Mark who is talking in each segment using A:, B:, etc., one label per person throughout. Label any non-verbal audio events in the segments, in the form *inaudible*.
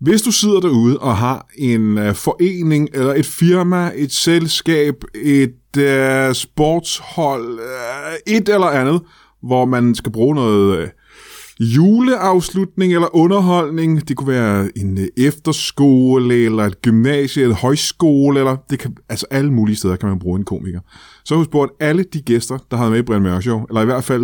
A: Hvis du sidder derude og har en øh, forening, eller et firma, et selskab, et øh, sportshold, øh, et eller andet, hvor man skal bruge noget øh, juleafslutning eller underholdning, det kunne være en øh, efterskole, eller et gymnasie, eller et højskole, eller det kan, altså alle mulige steder kan man bruge en komiker. Så husk på, at alle de gæster, der har været med i Brian Mørk Show, eller i hvert fald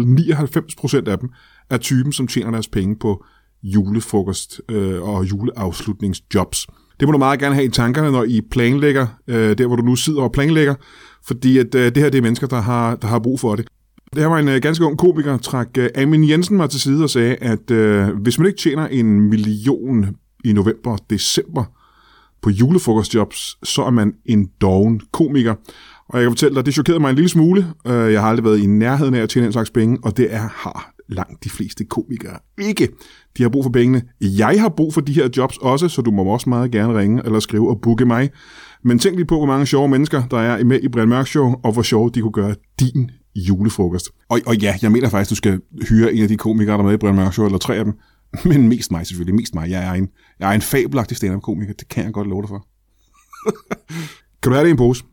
A: 99% af dem, er typen, som tjener deres penge på julefrokost øh, og juleafslutningsjobs. Det må du meget gerne have i tankerne, når I planlægger, øh, der hvor du nu sidder og planlægger, fordi at, øh, det her det er mennesker, der har, der har brug for det. Det her var en øh, ganske ung komiker, trak øh, Amin Jensen mig til side og sagde, at øh, hvis man ikke tjener en million i november og december på julefrokostjobs, så er man en doven komiker. Og jeg kan fortælle dig, det chokerede mig en lille smule. Øh, jeg har aldrig været i nærheden af at tjene den slags penge, og det er har langt de fleste komikere ikke. De har brug for pengene. Jeg har brug for de her jobs også, så du må også meget gerne ringe eller skrive og booke mig. Men tænk lige på, hvor mange sjove mennesker, der er med i Brian Mørk Show, og hvor sjove de kunne gøre din julefrokost. Og, og ja, jeg mener faktisk, du skal hyre en af de komikere, der er med i Brian Mørk Show, eller tre af dem. *laughs* Men mest mig selvfølgelig, mest mig. Jeg er en, jeg er en fabelagtig stand-up-komiker, det kan jeg godt love dig for. *laughs* kan du have det i en pose?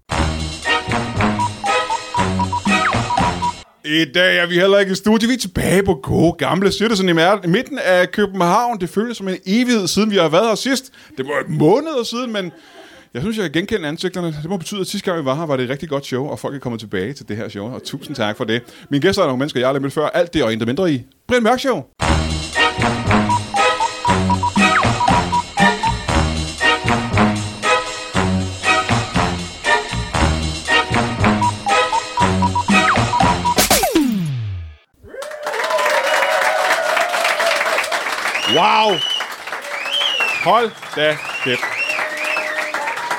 A: I dag er vi heller ikke i studiet. Vi er tilbage på gode gamle Citizen i mer- midten af København. Det føles som en evighed, siden vi har været her sidst. Det var et måned siden, men jeg synes, jeg kan genkende ansigterne. Det må betyde, at sidste gang vi var her, var det et rigtig godt show, og folk er kommet tilbage til det her show, og tusind tak for det. Mine gæster er nogle mennesker, jeg har mødt før. Alt det og intet mindre i Brian Mørk Show. Wow! Hold da kæft.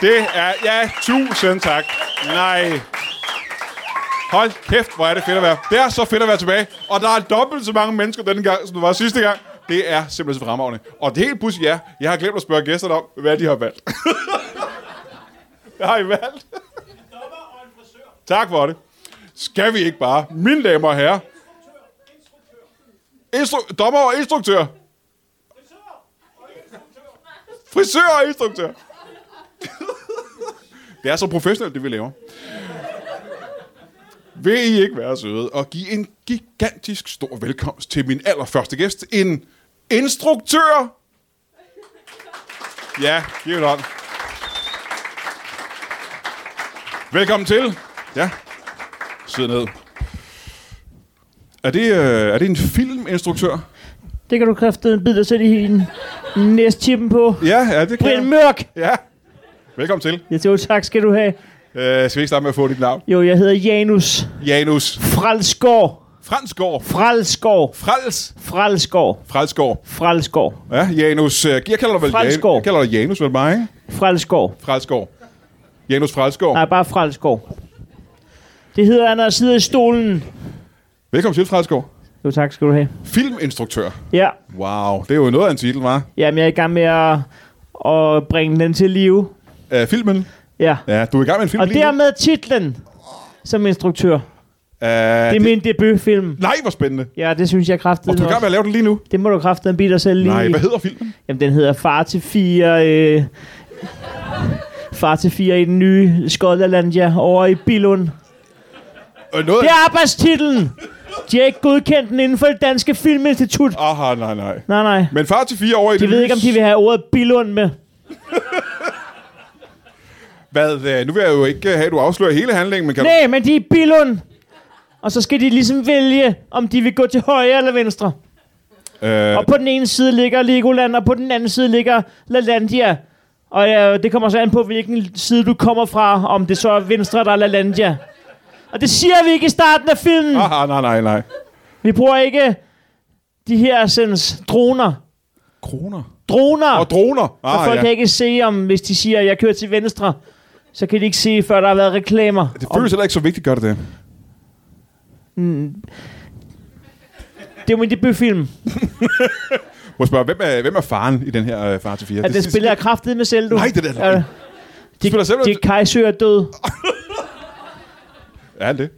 A: Det er... Ja, tusind tak. Nej. Hold kæft, hvor er det fedt at være. Det er så fedt at være tilbage. Og der er dobbelt så mange mennesker denne gang, som der var sidste gang. Det er simpelthen så fremragende. Og det helt pludselig er, jeg har glemt at spørge gæsterne om, hvad de har valgt. *laughs* hvad har I valgt? Tak for det. Skal vi ikke bare, mine damer og herrer, Instru- dommer og instruktør. Frisør og instruktør. det er så professionelt, det vi laver. Vil I ikke være søde og give en gigantisk stor velkomst til min allerførste gæst, en instruktør? Ja, giv det hånd. Velkommen til. Ja, sid ned. Er det, øh, er det en filminstruktør?
B: Det kan du kræfte en bid og sætte i en næstchippen på.
A: Ja, ja, det kan
B: Brian
A: jeg.
B: Mørk!
A: Ja. Velkommen til.
B: Ja, jo, tak skal du have.
A: Øh, skal vi ikke starte med at få dit navn?
B: Jo, jeg hedder Janus
A: Janus
B: Fralsgaard.
A: Fransgaard.
B: Fralsgaard.
A: Frals.
B: Fralsgaard.
A: Fralsgaard.
B: Fralsgaard.
A: Ja, Janus. øh, Jeg kalder dig vel
B: Frelsgaard.
A: Jan, jeg kalder dig Janus, vel mig, ikke?
B: Fralsgaard.
A: Fralsgaard. Janus Fralsgaard.
B: Nej, bare Fralsgaard. Det hedder han, når jeg sidder i stolen.
A: Velkommen til, Fralsgaard.
B: Jo, tak skal du have.
A: Filminstruktør.
B: Ja,
A: Wow, det er jo noget af en titel, var.
B: jamen jeg er i gang med at, at bringe den til live.
A: Uh, filmen.
B: Ja.
A: Ja, du er i gang med en film
B: Og
A: lige nu.
B: dermed titlen som instruktør.
A: Øh,
B: Det er
A: det...
B: min debutfilm.
A: Nej, hvor spændende.
B: Ja, det synes jeg
A: Og
B: kraftigt.
A: du er i gang med at lave den lige nu?
B: Det må du kraftigt en bid dig selv lige.
A: Nej, hvad hedder filmen?
B: Jamen, den hedder Far til fire... Øh, far til fire i den nye Skotland, ja, over i Billund.
A: Øh, noget...
B: Det er arbejdstitlen! De har ikke godkendt den inden for det danske filminstitut.
A: Aha, nej, nej.
B: Nej, nej.
A: Men far til fire år i
B: De
A: det
B: ved
A: nye-
B: ikke, om de vil have ordet Billund med.
A: Hvad, øh, nu vil jeg jo ikke øh, have, at du afslører hele handlingen, men kan du...
B: Nej, men de er i Billund! Og så skal de ligesom vælge, om de vil gå til højre eller venstre.
A: Øh,
B: Og på den ene side ligger Legoland, og på den anden side ligger LaLandia. Og øh, det kommer så an på, hvilken side du kommer fra, om det så er venstre eller LaLandia. Og det siger vi ikke i starten af filmen.
A: aha, nej, nej, nej.
B: Vi bruger ikke de her sens droner.
A: Kroner.
B: Droner!
A: Og droner.
B: så
A: Ah,
B: folk
A: ja.
B: kan ikke se, om hvis de siger, at jeg kører til venstre, så kan de ikke se, før der har været reklamer.
A: Det føles heller ikke så vigtigt, gør det det?
B: det er jo min debutfilm.
A: Må jeg spørge, hvem er, hvem er faren i den her øh, far til fire?
B: At den
A: sidste-
B: spiller jeg kraftet med selv, du.
A: Nej, det er da løgn.
B: Øh, de,
A: spiller selv-
B: de Kajsø er død.
A: Er han det?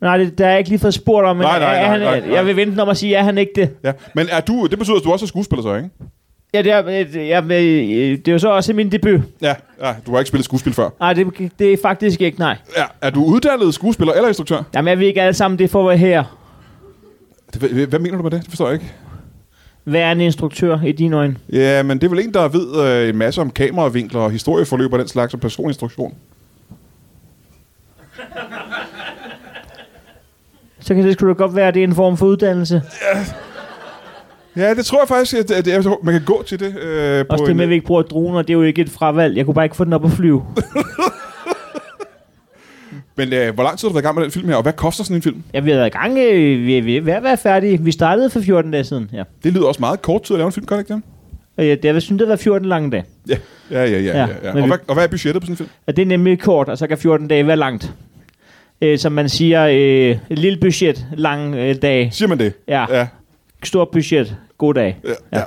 B: Nej, det, der er jeg ikke lige fået spurgt om. men
A: Nej, nej,
B: er
A: nej,
B: han,
A: nej, nej.
B: Jeg vil vente om at sige, er han ikke det?
A: Ja. Men er du, det betyder, at du også er skuespiller så, ikke?
B: Ja, det er, øh, ja, men, øh, det er jo så også min debut.
A: Ja, ja, du har ikke spillet skuespil før.
B: Nej, det, det er faktisk ikke, nej.
A: Ja, er du uddannet skuespiller eller instruktør?
B: Jamen, jeg vil ikke alle sammen, det får være her.
A: Det- Hvad, hvad mener du med det? Det forstår jeg ikke.
B: Være en instruktør i dine øjne.
A: Ja, men det er vel en, der ved øh, en masse om kameravinkler og historieforløb og den slags og personinstruktion.
B: Så kan det sgu da godt være, at det er en form for uddannelse.
A: Ja, det tror jeg faktisk, at, at, at man kan gå til det. Øh, på
B: Også det
A: en,
B: med, at vi ikke bruger droner, det er jo ikke et fravalg. Jeg kunne bare ikke få den op at flyve.
A: Men øh, hvor lang tid har du været i gang med den film her, og hvad koster sådan en film?
B: Jeg ved i gang, øh, vi vi er ved at være færdige. Vi startede for 14 dage siden, ja.
A: Det lyder også meget kort tid at lave en film, gør det ikke det?
B: Og jeg, jeg synes, det var 14 lange dage.
A: Ja, ja, ja. ja,
B: Ja,
A: ja, ja.
B: men
A: Og,
B: vi-
A: hvad, og hvad er budgettet på sådan en film?
B: Og det er nemlig kort, og så kan 14 dage være langt. Øh, som man siger, øh, et lille budget, lang øh, dag.
A: Siger man det?
B: Ja,
A: Ja.
B: stort budget, god dag.
A: ja. ja.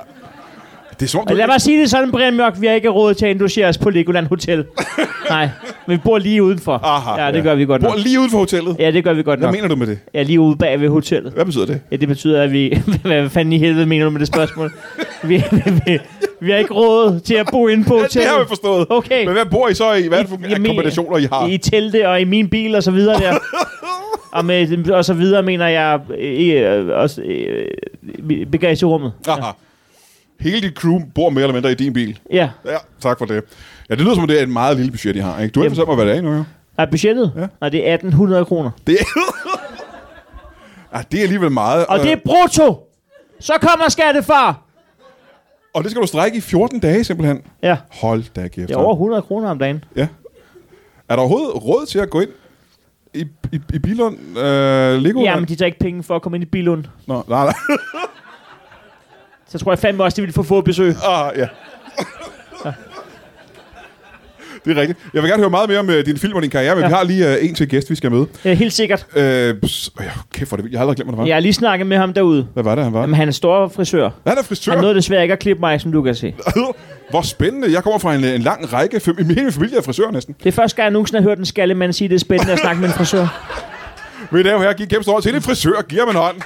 A: Det er som om, du
B: Og Altså, lad
A: ikke,
B: mig sige det sådan, Brian Mørk, vi har ikke råd til at indlogere os på Legoland
A: *laughs*
B: Hotel. Nej, men vi bor lige udenfor.
A: Aha,
B: ja, det
A: ja.
B: gør vi godt nok.
A: bor lige uden for hotellet.
B: Ja, det gør vi godt
A: Hvad
B: nok.
A: mener du med det?
B: Ja, lige ude bag ved hotellet.
A: Hvad betyder det?
B: Ja, det betyder, at vi... *laughs* Hvad fanden i helvede mener du med det spørgsmål? vi, *laughs* vi, vi, vi har ikke råd til at bo inde på
A: Ja, det
B: hotellet.
A: har vi forstået.
B: Okay.
A: Men hvad bor I så i? Hvad er det for
B: I- jeg
A: nogle
B: mener-
A: kombinationer, I har?
B: I telte og i min bil og så videre
A: *laughs*
B: der. og, med, og så videre mener jeg øh, øh, også øh, øh, bagagerummet.
A: Aha. Hele dit crew bor mere eller mindre i din bil.
B: Ja,
A: Ja, tak for det. Ja, det lyder som, om det er et meget lille budget, I har. Ikke? Du har ikke
B: Jamen.
A: fortalt mig, hvad det er endnu, jo.
B: er budgettet?
A: Ja.
B: Nej, det er 1800 kroner.
A: Det er... Ah, det er alligevel meget.
B: Og det er
A: øh,
B: brutto! Så kommer skattefar!
A: og det skal du strække i 14 dage, simpelthen.
B: Ja,
A: Hold da kæft.
B: det er over 100 kroner om dagen.
A: Ja. Er der overhovedet råd til at gå ind i, i, i Bilund? Øh, Lego?
B: Jamen, de tager ikke penge for at komme ind i Bilund.
A: Nå, nej, *laughs* nej.
B: Så tror jeg fandme også, de ville få få besøg.
A: Ah, ja. Det er rigtigt. Jeg vil gerne høre meget mere om øh, din film og din karriere, men ja.
B: Ja.
A: vi har lige øh, en til gæst, vi skal med.
B: Ja, helt sikkert.
A: Øh, pss, øh, kæft, hvor er det vildt. Jeg har aldrig glemt, hvad det var.
B: Jeg har lige snakket med ham derude.
A: Hvad var det, han var?
B: Jamen, han er stor frisør.
A: Han er frisør.
B: Han nåede desværre ikke at klippe mig, som du kan se.
A: *laughs* Hvor spændende. Jeg kommer fra en, en lang række. Fem, min hele familie er frisør næsten.
B: Det er første gang, jeg nogensinde har hørt en skallemand sige, det er spændende at snakke med en frisør.
A: Mine damer og herrer, giv et kæmpe stort til en frisør. Giv ham en hånd.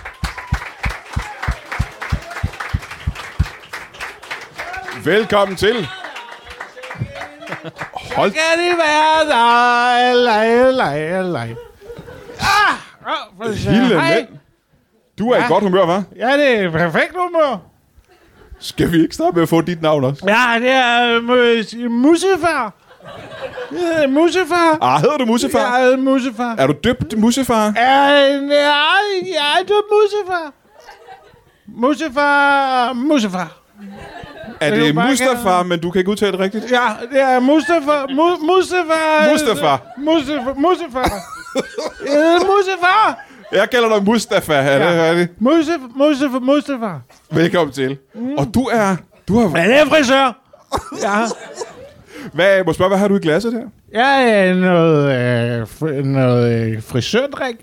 A: Velkommen til. Hold
C: Skal det være dig? Lej, lej, lej. Ah! Åh, for søren.
A: Hilde
C: Hej.
A: mand. Du er ja. i
C: Ja.
A: godt humør, hva'?
C: Ja, det er perfekt humør.
A: Skal vi ikke starte med at få dit navn også?
C: Ja, det er uh, musefar. Jeg hedder musefar.
A: Ah, hedder du Musefar?
C: Jeg
A: Ja.
C: hedder musefar.
A: Er du døbt Musefar? Ja.
C: Ja, nej, jeg er død musefar. Musefar, musefar.
A: Er
C: Jeg
A: det
C: vil bare
A: Mustafa, men du kan ikke udtale det rigtigt?
C: Ja, Ah, det er Mustafa. Mu- Mustafa.
A: Mustafa.
C: Mustafa. Øh, Mustafa. *laughs* Jeg hedder Mustafa.
A: Jeg kalder dig Mustafa, er det
C: Ja.
A: rigtigt?
C: Mustafa, Mustafa, Mustafa.
A: Velkommen til. Mm. Og du er... Du har,
C: Han er frisør. Ja.
A: hvad, må jeg spørge, hvad har du i glasset der?
C: Jeg er noget, øh, fri, noget øh, frisørdrik,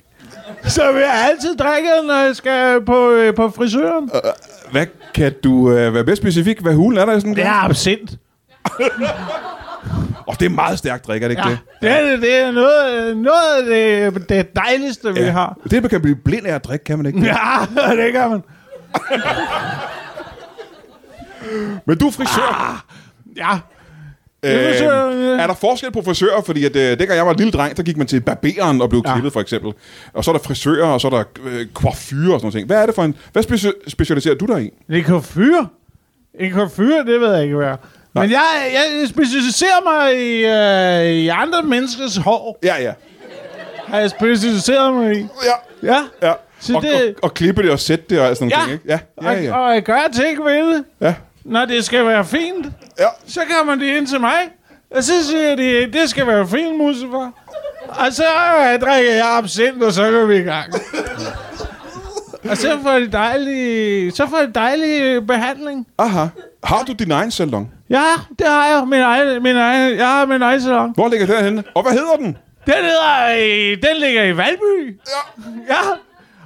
C: som jeg altid drikker, når jeg skal på, øh, på frisøren.
A: Hvad kan du øh, være mere specifik? Hvad hulen er der i sådan en
C: Det
A: glas?
C: er absint.
A: Og det er meget stærkt drikker, er det ikke
C: Ja.
A: det?
C: Det er, det er noget, øh, noget af det, det dejligste, ja. vi har.
A: Det, man kan blive blind af at drikke, kan man ikke?
C: Ja, *laughs* det gør man.
A: Men du er frisør. Ah,
C: Ja. er frisør,
A: øh,
C: ja.
A: er der forskel på frisører? Fordi at, øh, dengang jeg var en lille dreng, så gik man til barberen og blev
C: Ja.
A: klippet, for eksempel. Og så er der frisører, og så er der øh, coiffure og sådan noget. Hvad er det for en... Hvad speci- specialiserer du dig i?
C: Det er konfyr. En konfyr, det ved jeg ikke, hvad er. Men jeg, jeg specialiserer mig i, øh, i andre menneskers hår,
A: Ja, ja.
C: har jeg specialiseret mig i.
A: Ja,
C: Ja.
A: ja.
C: Så
A: og,
C: det-
A: og, og, klippe det og sætte det og alt sådan
C: Ja.
A: noget. Ikke? Ja, ja,
C: Og,
A: ja.
C: og jeg gør ting ved det.
A: ja.
C: når det skal være fint,
A: Ja.
C: så kommer de ind til mig, og så siger de, det skal være fint, Mustafa. Og så øh, drikker jeg absint, og så går vi i gang. og så får de dejlig, så får de dejlig behandling.
A: Aha. Har du din egen salon?
C: Ja, det har jeg. Min egen, min egen, jeg har min egen salon.
A: Hvor ligger den henne? Og hvad hedder den?
C: Den, hedder, øh, den ligger i Valby.
A: Ja.
C: Ja.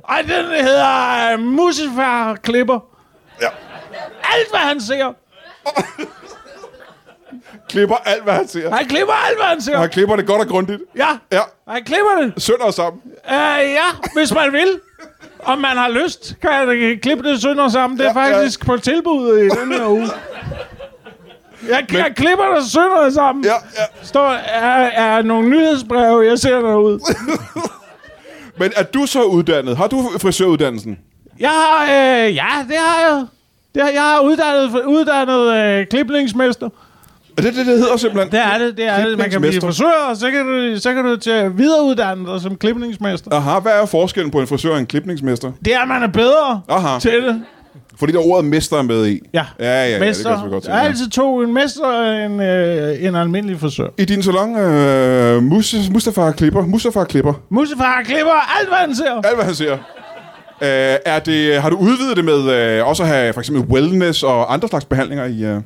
C: Og den hedder øh, Mustafa Klipper.
A: Ja.
C: Alt, hvad han ser.
A: Klipper alt, hvad han ser.
C: Han klipper alt, hvad han
A: Og han
C: ser.
A: klipper det godt og grundigt.
C: Ja,
A: Ja.
C: han klipper det.
A: Sønder og sammen.
C: Uh, ja, Øh, hvis man vil. Om man har lyst, kan jeg klippe det sønder sammen. Det er ja, faktisk ja. på tilbud i den her uge. Jeg, Men... jeg klipper det sønder sammen.
A: Ja, ja.
C: Står, er, er nogle nyhedsbreve, jeg ser derude.
A: Men er du så uddannet? Har du frisøruddannelsen?
C: Jeg har, øh, ja, det har jeg. Det har, jeg har uddannet, uddannet øh, klipningsmester.
A: Er det det, det hedder simpelthen?
C: Det er det, det er det. Man kan blive
A: Klipningsmester.
C: frisør, og så kan du, så kan du til at videreuddanne dig som klipningsmester.
A: Aha, hvad er forskellen på en frisør og en klipningsmester?
C: Det er, at man er bedre
A: Aha.
C: til det.
A: Fordi der er ordet mester er med i.
C: Ja.
A: Ja, ja, ja, det
C: mester. altså-
A: kan jeg så godt se.
C: der er altid to. En mester og en, øh, en almindelig frisør.
A: I din salon, øh, Mus- Mustafa klipper. Mustafa klipper.
C: Musefar klipper alt, hvad han ser.
A: Alt, hvad han siger. Øh, er det, har du udvidet det med øh, også at have for eksempel wellness og andre slags behandlinger i... Øh?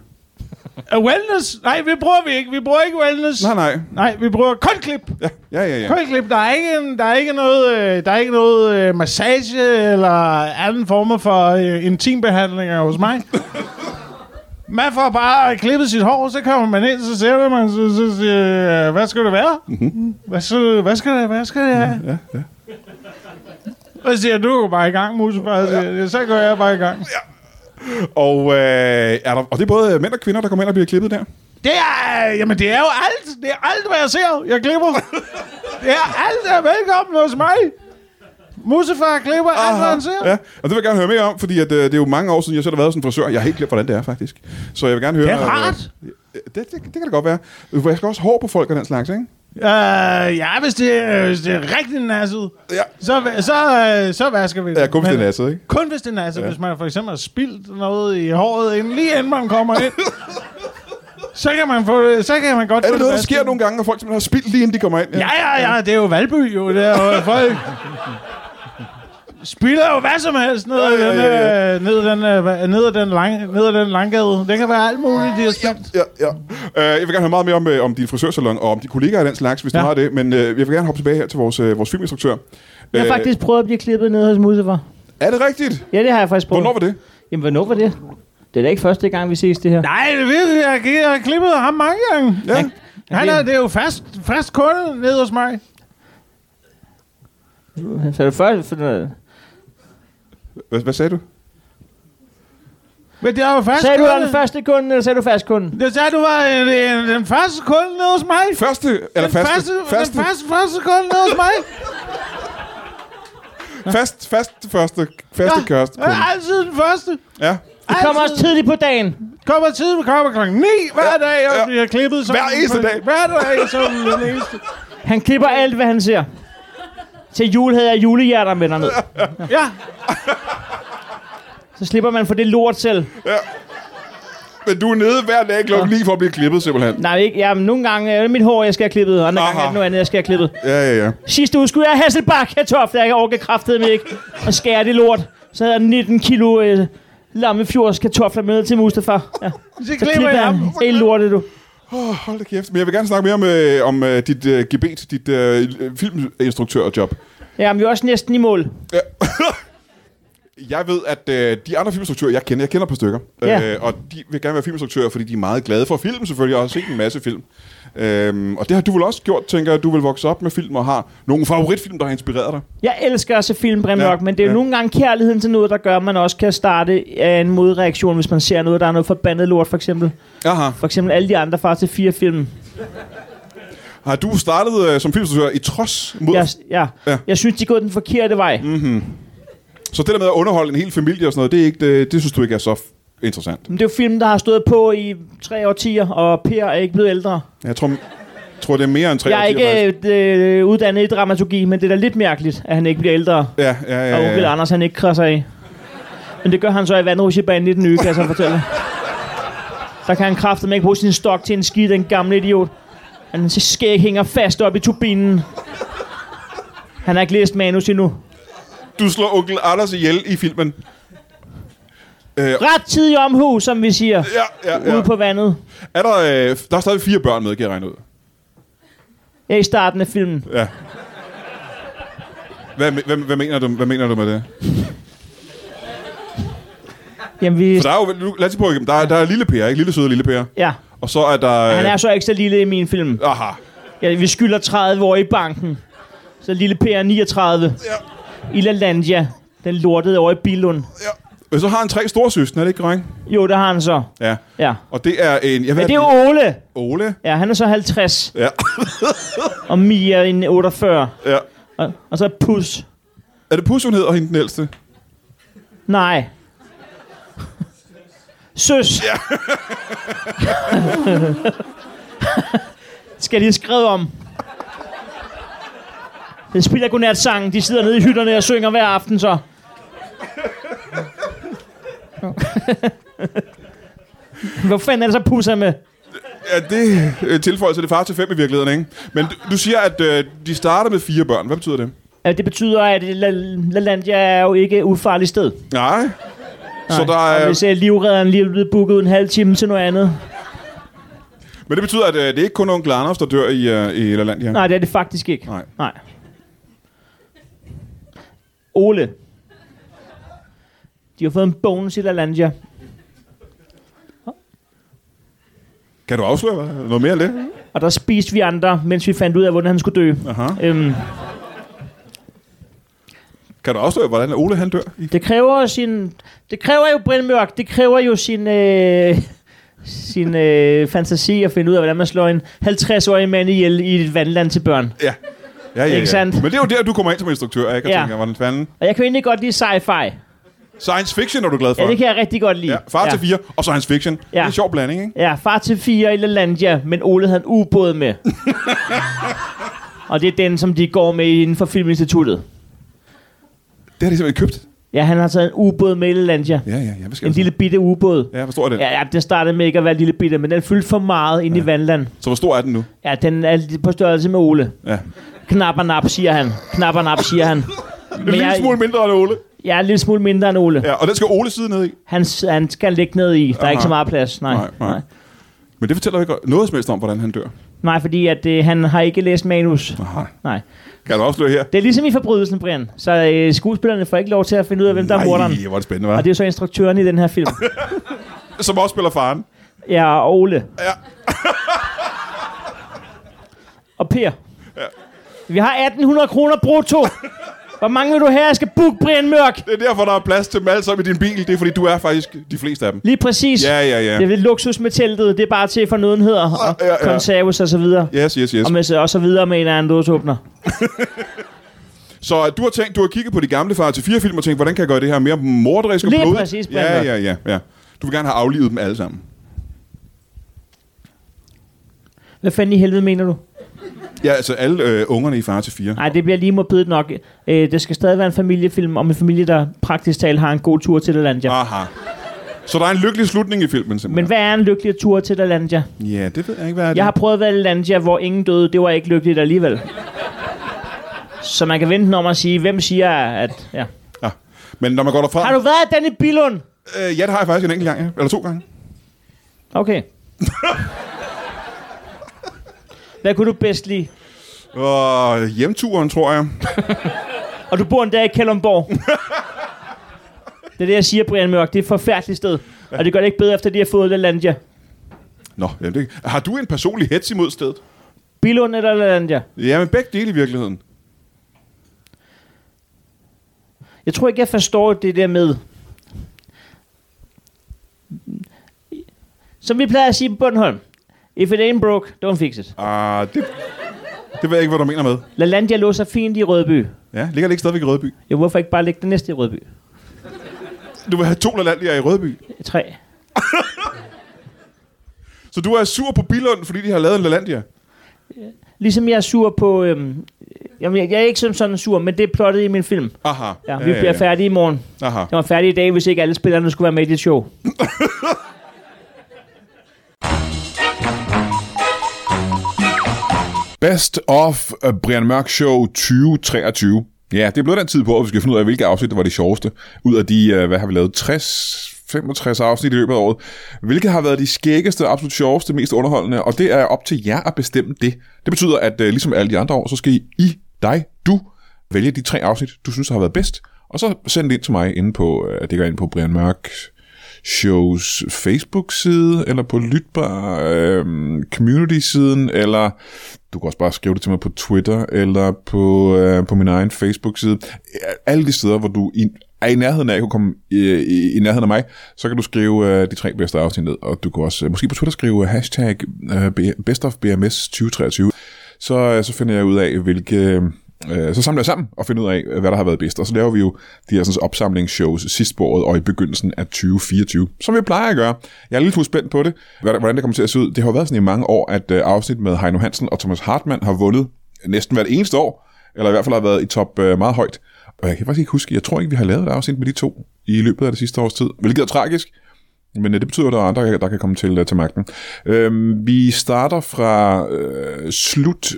C: Er wellness? Nej, vi bruger vi ikke. Vi bruger ikke wellness.
A: Nej, nej.
C: Nej, vi bruger kun klip.
A: Ja, ja, ja. ja.
C: Kun klip. Der er ikke, en, der er ikke noget, øh, der er ikke noget øh, massage eller anden former for øh, intimbehandlinger hos *laughs* mig. Man får bare klippet sit hår, så kommer man ind, så ser man, så, så siger, øh, hvad skal det være? Mm-hmm. Hvad, skal, hvad skal det, hvad skal det have? Ja, ja. Og så siger jeg, du går bare i gang, Musefar. Ja. Så går jeg bare i gang.
A: Og, øh, er der, og det er både mænd og kvinder, der kommer ind og bliver klippet der.
C: Det er, jamen det er jo alt. Det er alt, hvad jeg ser. Jeg klipper. det er alt, der er velkommen hos mig. Musefar klipper alt, hvad Altså, han ser.
A: Ja, og det vil jeg gerne høre mere om, fordi at, øh, det er jo mange år siden, jeg selv har været sådan en frisør. Jeg har helt glemt, hvordan det er, faktisk. Så jeg vil gerne høre...
C: Det er rart.
A: Øh, det, det, det, kan det godt være. Øh, for Jeg skal også hår på folk og den slags, ikke?
C: Øh, ja, hvis det, er- hvis det er rigtig nasset,
A: Ja.
C: så, så, øh, så vasker vi det.
A: Ja, kun hvis det er
C: Men-
A: nasset, ikke?
C: Kun hvis det er nasset. Ja. Hvis man for eksempel har spildt noget i håret, inden, lige inden man kommer
A: *laughs*
C: ind, så kan man, få, så kan man godt...
A: Er
C: få
A: det noget, der
C: vasket.
A: sker nogle gange, at folk simpelthen har spildt lige inden de kommer ind?
C: Ja, ja, ja, det er jo Valby jo, det er jo folk... Spiller jo hvad som helst ned ad
A: Ja, ja,
C: den,
A: ja,
C: øh, ned ad den, øh, hva- ned ad den, lang, ned ad den langgade. Det kan være alt muligt, de har spildt.
A: Ja, ja. Øh, jeg vil gerne høre meget mere om, øh, om din frisørsalon og om dine kollegaer og den slags, hvis ja.
C: Ja.
A: du har det. Men øh, jeg vil gerne hoppe tilbage her til vores, øh, vores filminstruktør. Øh,
B: Jeg har faktisk prøvet at blive klippet ned hos Mustafa.
A: Er det rigtigt?
B: Ja, det har jeg faktisk prøvet.
A: Hvornår var det?
B: Jamen, hvornår var det? Det er da ikke første gang, vi ses det her.
C: Nej, det er virkelig, jeg, jeg har klippet ham mange gange.
A: Ja.
C: Han er, det er jo fast, fast kunde nede hos mig.
B: Så det første... For, sagde
A: Hvad, hvad sagde du?
C: Men det er jo fast
B: du,
C: kunde.
B: at den første kunde, eller sagde du fast kunde?
C: Det sagde du var øh, den, den første kunde nede hos mig.
A: Første? Eller
C: Den
A: faste?
C: første,
A: faste,
C: Den første, første kunde nede hos mig.
A: fast, fast, første, faste ja. kørst.
C: Jeg er altid den første.
A: Ja.
B: Du kommer også tidligt på dagen.
C: Kommer tid, vi kommer klokken 9 hver dag, og
A: ja.
C: ja. bliver klippet som
A: Hver eneste dag.
C: Hver dag som den eneste.
B: Han klipper alt, hvad han ser. Til jul havde jeg julehjerter med derned.
C: Ja,
B: Så slipper man for det lort selv.
A: Men du er nede hver dag klokken 9 for at blive klippet, simpelthen.
B: Nej, ikke. Jamen, nogle gange er det mit hår, jeg skal have klippet, og andre gange
A: Aha.
B: er det noget andet, jeg skal have klippet.
A: Ja, ja, ja.
B: Sidste uge skulle jeg have Hasselbak kartofler, jeg orker kraftede mig ikke. Og skære det lort. Så havde jeg 19 kilo øh, lammefjords kartofler med til Mustafa. Ja.
C: så
B: Så
C: klipper
B: klipper
C: jeg
B: han
C: ham.
B: helt lortet, du.
A: Oh, hold da kæft. Men jeg vil gerne snakke mere om, øh, om øh, dit øh, gebet, dit øh, filminstruktørjob.
B: Jamen, vi er også næsten i mål.
A: Jeg ved, at øh, de andre filminstruktører, jeg kender, jeg kender et par stykker,
B: Ja.
A: øh, og de vil gerne være filminstruktører, fordi de er meget glade for film selvfølgelig, og har set en masse film. Øhm, og det har du vel også gjort, tænker jeg. Du vil vokse op med film og har nogle favoritfilm, der har inspireret dig.
B: Jeg elsker at se film, Brim
A: Ja,
B: ja, men det er jo
A: ja.
B: ja. nogle gange kærligheden til noget, der gør, at man også kan starte af en modreaktion, hvis man ser noget, der er noget forbandet lort, for eksempel.
A: Aha.
B: For eksempel alle de andre far til fire film.
A: Har du startet øh, som filminstruktør i trods mod...
B: Jeg, ja.
A: Ja.
B: ja. jeg synes, de er gået den forkerte vej. Mm.
A: Så det der med at underholde en hel familie og sådan noget, det, er ikke, øh, det, det synes du ikke er så f- interessant.
B: Men det er jo film, der har stået på i tre årtier, og Per er ikke blevet ældre.
A: Jeg tror, tror det er mere end tre
B: Jeg er
A: årtier, faktisk.
B: ikke øh, uddannet i dramaturgi, men det er da lidt mærkeligt, at han ikke bliver ældre,
A: Ja, ja,
B: og
A: ja.
B: øh, onkel
A: ja, ja.
B: Anders han ikke krasser af. Men det gør han så i vandrusjebanen i den nye, kan jeg så fortælle. Der kan han kraftedeme ikke bruge sin stok til en skid, den gamle idiot. Hans skæg hænger fast op i turbinen. Han har ikke læst manus endnu.
A: Du slår onkel Anders ihjel i filmen.
B: Ret tid i omhu, som vi siger,
A: Ja, ja,
B: ja.
A: ja.
B: ude på vandet.
A: Er der, øh, der er stadig fire børn med, kan jeg regne ud.
B: Ja, i starten af filmen.
A: Ja. Hvad, hvad, hvad, mener du, hvad mener du med det?
B: Jamen, vi...
A: For der er jo, nu- lad os lige prøve igennem. Der, er- der er lille Per, ikke? Lille søde lille Per.
B: Ja,
A: Og så er der... øh,
B: han er så ikke så lille i min film.
A: Aha.
B: Ja, vi skylder 30 år i banken. Så lille Per er 39. Ja. I LaLandia. Den lortede over i Bilund.
A: Og så har han tre storsøstre, er det ikke korrekt?
B: Jo, der har han så.
A: Ja.
B: Ja.
A: Og det er en... Jeg ved,
B: Men det er
A: at-
B: jo Ole.
A: Ole.
B: Ja, han er så 50.
A: Ja.
B: *laughs* Og Mia er en 48.
A: ja.
B: Og, og så er Pus.
A: Er det Pus, hun hedder, hende den ældste?
B: Nej. *laughs* Søs. Ja. *laughs* Skal jeg lige skrive om. Den spiller godnat sangen. De sidder nede i hytterne og synger hver aften så. Hvor fanden er det så pusser med?
A: Ja, det øh, tilføjelse er det far til fem i virkeligheden, ikke? Men du, du siger, at øh, de starter med fire børn. Hvad betyder det?
B: Ja, Det betyder, at La- LaLandia er jo ikke et ufarligt sted.
A: Nej. Så der
B: Og
A: er,
B: hvis uh, livredderen lige er blevet booket en halv time til noget andet.
A: men det betyder, at øh, det er ikke kun onkel Anders, der dør i, øh, i Lalandia.
B: Nej, det er det faktisk ikke.
A: Nej.
B: Nej. Ole. De har fået en bonus i LaLandia.
A: Kan du afsløre hvad? noget mere af det?
B: Og der spiste vi andre, mens vi fandt ud af, hvordan han skulle dø.
A: Aha.
B: Øhm,
A: Kan du afsløre, hvordan Ole han dør? I-
B: det kræver sin... Det kræver jo Brian Mørk. Det kræver jo sin... Øh, sin øh, fantasi at finde ud af, hvordan man slår en 50-årig mand ihjel i et vandland til børn.
A: Ja. Ja, ja, ja.
B: Ikke sandt?
A: Men det er jo der, du kommer ind som instruktør, ikke? Og
B: Ja.
A: ja. tænker, hvordan fanden...
B: Og jeg kan jo egentlig godt lide sci-fi.
A: Science fiction er du glad for.
B: Ja, det kan jeg rigtig godt lide.
A: ja far til fire, og science fiction. Ja. Det er en sjov blanding, ikke?
B: Ja, far til fire i LaLandia, men Ole havde en
A: *laughs*
B: ubåd med. og det er den, som de går med inden for Filminstituttet.
A: Det har de simpelthen købt.
B: Ja, han har taget en ubåd med i LaLandia.
A: Ja, ja, ja. Hvad skal
B: En
A: jeg-
B: lille bitte ubåd.
A: Ja, hvor stor er den?
B: Ja, ja, det startede med ikke at være en lille bitte, men den fyldte for meget inde ja. i vandland.
A: Så hvor stor er den nu?
B: Ja, den er lidt på størrelse med Ole.
A: Ja.
B: Knap og nap, siger han. Knap og nap, siger han.
A: *laughs* En lille
B: jeg,
A: smule mindre end Ole.
B: jeg er en lille smule mindre end Ole.
A: Ja, og den skal Ole sidde ned i.
B: Han, s- han skal ligge ned i. Der er ikke så meget plads. Nej,
A: Nej, nej. Men det fortæller jo ikke noget som helst om, hvordan han dør.
B: nej fordi at, øh, han har ikke læst manus.
A: Aha.
B: Nej.
A: Kan du afsløre her?
B: Det er ligesom i forbrydelsen, Brian. Så øh, skuespillerne får ikke lov til at finde ud af, hvem der er morderen.
A: Nej, hvor er det spændende, hva'?
B: Og det er jo så instruktøren i den her
A: *laughs*
B: film.
A: Som også spiller faren.
B: Ja, og Ole. Ja. og Per. Ja. Vi har 1800 kroner brutto. Hvor mange vil du have, jeg skal booke Brian Mørk?
A: Det er derfor, der er plads til dem alle sammen i din bil. Det er, fordi du er faktisk de fleste af dem.
B: Lige præcis.
A: Ja, ja, ja.
B: Det er lidt luksus med teltet. Det er bare til fornødenheder og
A: Ja, ja, ja.
B: konserves og så videre.
A: Yes, yes, yes.
B: Og, med, og så videre med en anden dåseåbner.
A: Så øh, du har tænkt, du har kigget på de gamle far til fire film og tænkt, hvordan kan jeg gøre det her mere morderisk og
B: Lige
A: blodigt?
B: præcis,
A: Ja,
B: Brian.
A: ja, ja, ja. Du vil gerne have aflivet dem alle sammen.
B: Hvad fanden i helvede mener du?
A: Ja, altså alle øh, ungerne i far til fire.
B: Nej, det bliver lige morbidt nok. Øh, det skal stadig være en familiefilm om en familie, der praktisk talt har en god tur til Lalandia. Ja.
A: Aha. Så der er en lykkelig slutning i filmen,
B: Men
A: simpelthen.
B: hvad er en lykkelig tur til Lalandia?
A: Ja, det ved jeg ikke, hvad er det?
B: Jeg har prøvet at være i Lalandia, hvor ingen døde. Det var ikke lykkeligt alligevel. Så man kan vente om at sige, hvem siger, at... Ja.
A: Ja. Ah. Men når man går derfra...
B: Har du været i Danny Bilund?
A: Øh, ja, det har jeg faktisk en enkelt gang, ja. Eller to gange.
B: Okay. Hvad kunne du bedst lide?
A: Og hjemturen, tror jeg.
B: Og du bor endda i Kalundborg. Det er det, jeg siger, Brian Mørk. Det er et forfærdeligt sted. Og det gør det ikke bedre, efter de har fået Lalandia.
A: Nå, jamen det, har du en personlig hets imod stedet?
B: Bilund eller Lalandia?
A: Ja, men begge dele i virkeligheden.
B: Jeg tror ikke, jeg forstår det der med... Som vi plejer at sige på Bornholm. If it ain't broke, don't fix it.
A: Ah, det, det ved jeg ikke, hvad du mener med.
B: LaLandia lå så fint i Rødby.
A: Ja, ligger det ikke stadigvæk i Rødby?
B: Jo, hvorfor ikke bare lægge det næste i Rødby?
A: Du vil have to Lalandia i Rødby.
B: Tre.
A: Så du er sur på Bilund, fordi de har lavet en Lalandia?
B: Ligesom jeg er sur på... Øhm, jamen, jeg, jeg er ikke som sådan sur, men det er plottet i min film.
A: Aha.
B: Ja, vi bliver færdige i morgen.
A: Aha.
B: Jeg var færdig i dag, hvis ikke alle spillerne skulle være med i det show.
A: Best of øh, Brian Mørk Show 2023. Ja, det er blevet den tid på, at vi skal finde ud af, hvilke afsnit, der var de sjoveste. Ud af de, øh, hvad har vi lavet, 60 65 afsnit i løbet af året. Hvilket har været de skæggeste, absolut sjoveste, mest underholdende, og det er op til jer at bestemme det. Det betyder, at øh, ligesom alle de andre år, så skal I, I dig, du, vælge de tre afsnit, du synes har været bedst, og så send det ind til mig inde på, øh, det går ind på Brian Mørk shows Facebook-side, eller på Lytbar øh, community-siden, eller du kan også bare skrive det til mig på Twitter, eller på, øh, på min egen Facebook-side. Alle de steder, hvor du i er i nærheden af, at kunne komme i, i, i nærheden af mig, så kan du skrive øh, de tre bedste afsnit ned, og du kan også øh, måske på Twitter skrive øh, hashtag øh, B- bestofbms2023, så, øh, så finder jeg ud af, hvilke... Øh, så samler jeg sammen og finder ud af, øh, hvad der har været bedst. Og så laver vi jo de her sådan, opsamlingsshows sidst på året og i begyndelsen af 2024, som vi plejer at gøre. Jeg er lidt smule spændt på det, hvad- hvordan det kommer til at se ud. Det har jo været sådan i mange år, at øh, afsnit med Heino Hansen og Thomas Hartmann har vundet næsten hvert eneste år, eller i hvert fald har været i top øh, meget højt. Og jeg kan faktisk ikke huske, jeg tror ikke, vi har lavet et afsnit med de to i løbet af det sidste års tid, hvilket er tragisk. Men øh, det betyder, at der er andre, der kan komme til, øh, til magten. Øhm, vi starter fra øh, slut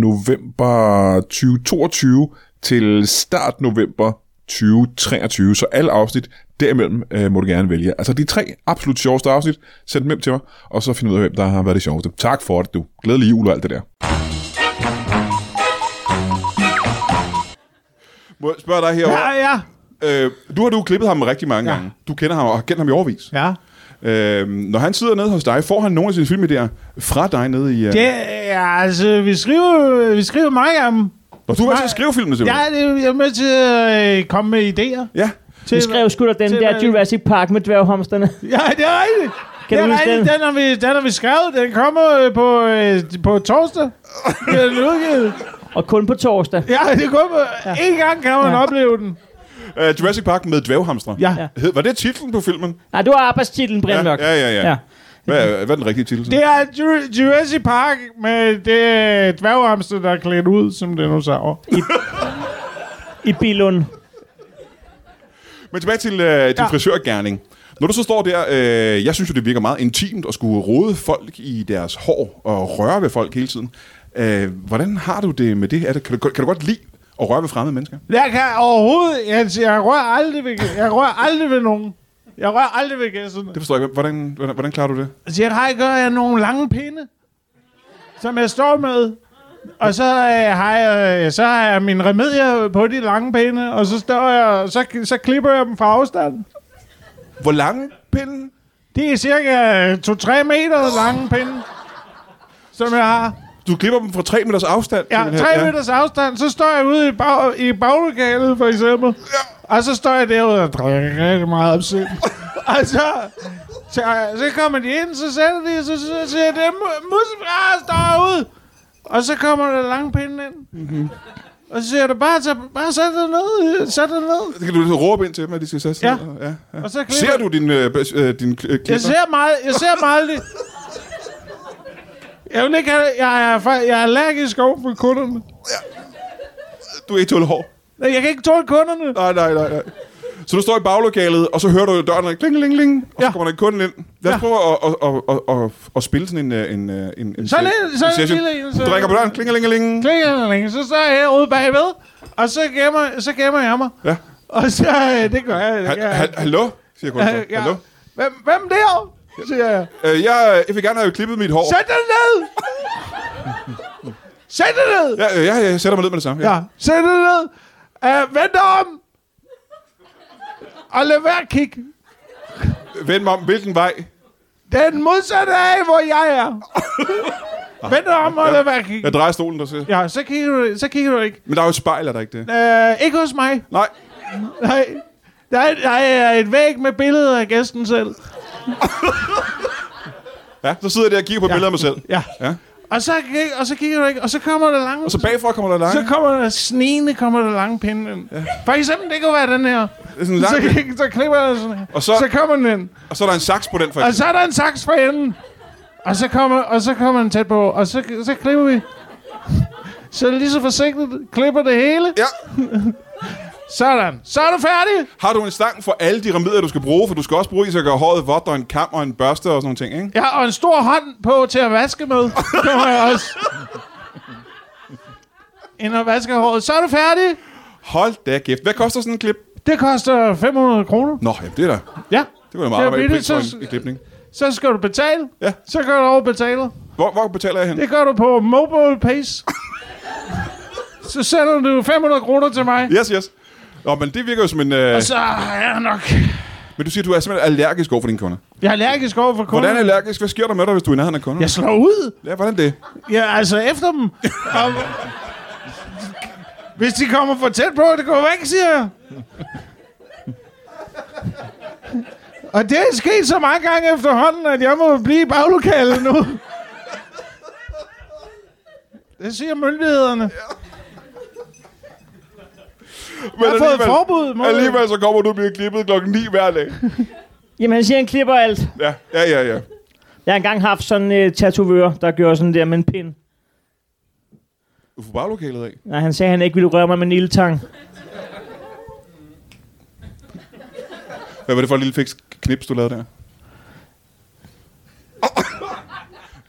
A: november 2022 til start november 2023. Så alle afsnit derimellem øh, må du gerne vælge. Altså de tre absolut sjoveste afsnit, send dem hjem til mig, og så find ud af, hvem der har været det sjoveste. Tak for det, du. Glædelig jul og alt det der. Må jeg spørge dig herovre?
C: Ja, ja.
A: Øh, du har du klippet ham rigtig mange ja.
C: Ja.
A: gange. Du kender ham og har kendt ham i overvis.
C: Ja.
A: Øh, når han sidder nede hos dig, får han nogle af sine filmidéer fra dig nede i... Øh...
C: Det, ja, altså, vi skriver, vi skriver mange af dem.
A: Nå, du har altid skrevet filmene,
C: Ja,
A: simpelthen.
C: det- jeg er med til at øh, komme med idéer.
A: Ja.
C: Til,
B: Vi skrev sgu da den
C: til-
B: der Jurassic Park med dværghomsterne.
C: Ja, det er rigtigt.
B: Kan
C: det
B: du
C: er
B: huske
C: rigtigt.
B: den?
C: Den har, vi, den har vi skrevet. Den kommer øh, på, øh, på
A: *laughs*
C: torsdag. Den er den udgivet.
B: Og kun på torsdag.
C: Ja, det kommer. Ja. En gang kan man ja. opleve den.
A: Øh, Jurassic Park med dvævhamstre.
C: Ja. ja.
B: Ja.
A: Hed, var det titlen på filmen?
B: Nej, du har arbejdstitlen, Brian
A: ja,
B: Mørk.
A: ja, ja. ja.
B: Ja.
A: Hvad, er, hvad er den rigtige titel? så?
C: Det er Ju- Jurassic Park med det øh, dværghamster, der er klædt ud som dinosaurer.
B: I Bilund.
A: Men tilbage til øh, din ja.
C: Ja.
A: frisørgærning. Når du så står der, øh, jeg synes jo, det virker meget intimt at skulle rode folk i deres hår og røre ved folk hele tiden. Øh, hvordan har du det med det? Er det kan, du, kan du godt lide at røre ved fremmede mennesker?
C: Jeg kan overhovedet... Jeg, jeg rører aldrig ved, jeg rører aldrig ved nogen. Jeg rører aldrig ved gæsterne.
A: Det forstår jeg ikke. Hvordan, hvordan, hvordan klarer du det?
C: Så jeg har gør jeg nogle lange pinde, som jeg står med. Og så øh, har jeg, øh, så har jeg mine remedier på de lange pinde, og så står jeg, så, så klipper jeg dem fra afstand.
A: Hvor lange pillen?
C: Det er cirka 2-3 meter lange pinde, som jeg har.
A: Du klipper dem fra 3 meters afstand?
C: Ja,
A: simpelthen.
C: 3 meters afstand, så står jeg ude i, bag, i baglokalet, for eksempel. Ja. Og så står jeg derude og drikker rigtig meget opsind. *laughs* og så, så, så kommer de ind, så sætter de, så, så siger jeg, det er mu- musefra, der står herude. Og så kommer der langpinden ind. Mm-hmm.
A: Mhm.
C: Og så siger du, bare, tag, bare sæt dig ned, øh, sæt dig ned.
A: Så kan du ligesom råbe ind til dem, at de skal sætte sig
C: Ja.
A: ned? ja, ja.
C: Og så klipper-
A: Ser du din, øh, bas- øh, din kl- øh, klipper?
C: Jeg ser meget, jeg ser meget lidt. Jeg, vil ikke have, jeg, er, fa- jeg er allergisk over for kunderne.
A: Du er ikke tåle hår.
C: Jeg kan ikke tåle kunderne.
A: Nej, nej, nej, nej. Så du står i baglokalet, og så hører du døren kling, kling, kling, og ja.
C: Ja.
A: så kommer der en kunde ind. Lad os ja.
C: Ja.
A: prøve at, at, at, at, at, at, spille sådan en, øh, en, øh, en, en
C: Så
A: se-
C: lidt- så
A: en
C: lidt
A: session.
C: lille en, så-
A: Du drikker på døren, kling, kling, kling.
C: Klingeling, så står jeg herude bagved, og så gemmer, så gemmer jeg mig.
A: Ja.
C: Og så, øh, det gør jeg, det gør
A: Ha-
C: jeg.
A: ha- Hallo, siger kunden så.
C: Ja.
A: Hallo.
C: Hvem, hvem der? siger jeg.
A: Øh, jeg, jeg vil gerne have klippet mit hår.
C: Sæt dig ned! Sæt dig ned!
A: Ja, øh, ja, ja, jeg sætter mig ned med det samme.
C: Ja, sæt dig ned! Uh, vend dig om! Og lad være at kigge
A: Vend mig om, hvilken vej?
C: den modsatte af, hvor jeg er. vend dig om, og lad være at kigge.
A: Jeg drejer stolen, der siger.
C: Ja, så kigger du, så kigger du ikke.
A: Men der er jo et spejl, er der ikke det?
C: Uh, ikke hos mig.
A: Nej.
C: Nej. Der er, der er et væg med billeder af gæsten selv.
A: Ja, så sidder jeg der og kigger på ja. billeder af mig selv.
C: Ja.
A: Ja.
C: Og så, kig- og så kigger du ikke, og så kommer der lange...
A: Og så bagfra kommer der lange.
C: så kommer der snigende, kommer der lange pinde ind. Ja. For eksempel, det kunne være den her.
A: Det er sådan en
C: Så,
A: lang,
C: kig- så klipper jeg sådan her.
A: Og
C: Og
A: så-
C: så, så kommer den ind.
A: og så er der en saks på den, for
C: Og
A: eksempel.
C: så er der en saks for enden. Og så kommer, og så kommer den tæt på, og så, så klipper vi. Så lige så forsigtigt klipper det hele.
A: Ja.
C: Sådan. Så er du færdig.
A: Har du en stang for alle de remedier, du skal bruge? For du skal også bruge is at gøre håret vådt, og en kam og en børste og sådan nogle ting, ikke?
C: Jeg har en stor hånd på til at vaske med. Det må jeg også. Ind og vaske håret. Så er du færdig.
A: Hold da kæft. Hvad koster sådan en klip?
C: Det koster 500 kroner.
A: Nå, jamen, det er da.
C: Ja.
A: Det var da
C: Det
A: meget
C: er
A: arbejde
C: billigt,
A: pris for
C: så-
A: en, en klipning.
C: Så skal du betale.
A: Ja.
C: Så går du over og betaler.
A: Hvor, hvor betaler jeg hen?
C: Det gør du på mobile pace. så sender du 500 kroner til mig.
A: Yes, yes. Nå, men det virker jo som en... Øh...
C: Og så er jeg nok...
A: Men du siger, du er simpelthen allergisk over for dine kunder.
C: Jeg er allergisk over for kunder.
A: Hvordan er allergisk? Hvad sker der med dig, hvis du er i nærheden af kunder?
C: Jeg slår ud.
A: Ja, hvordan det?
C: Ja, altså efter dem. Og... Hvis de kommer for tæt på, det går væk, siger jeg. Og det er sket så mange gange efterhånden, at jeg må blive i baglokalet nu. Det siger myndighederne.
A: Men
C: Jeg har fået forbud mod...
A: alligevel så kommer du og bliver klippet klokken 9 hver dag.
B: Jamen, han siger, han klipper alt.
A: Ja, ja, ja. ja.
B: Jeg har engang haft sådan en øh, tatovør, der gjorde sådan der med en pind.
A: Du får bare lokalet af.
B: Nej, han sagde, at han ikke ville røre mig med en ildtang.
A: Hvad var det for et lille fiks knips, du lavede der?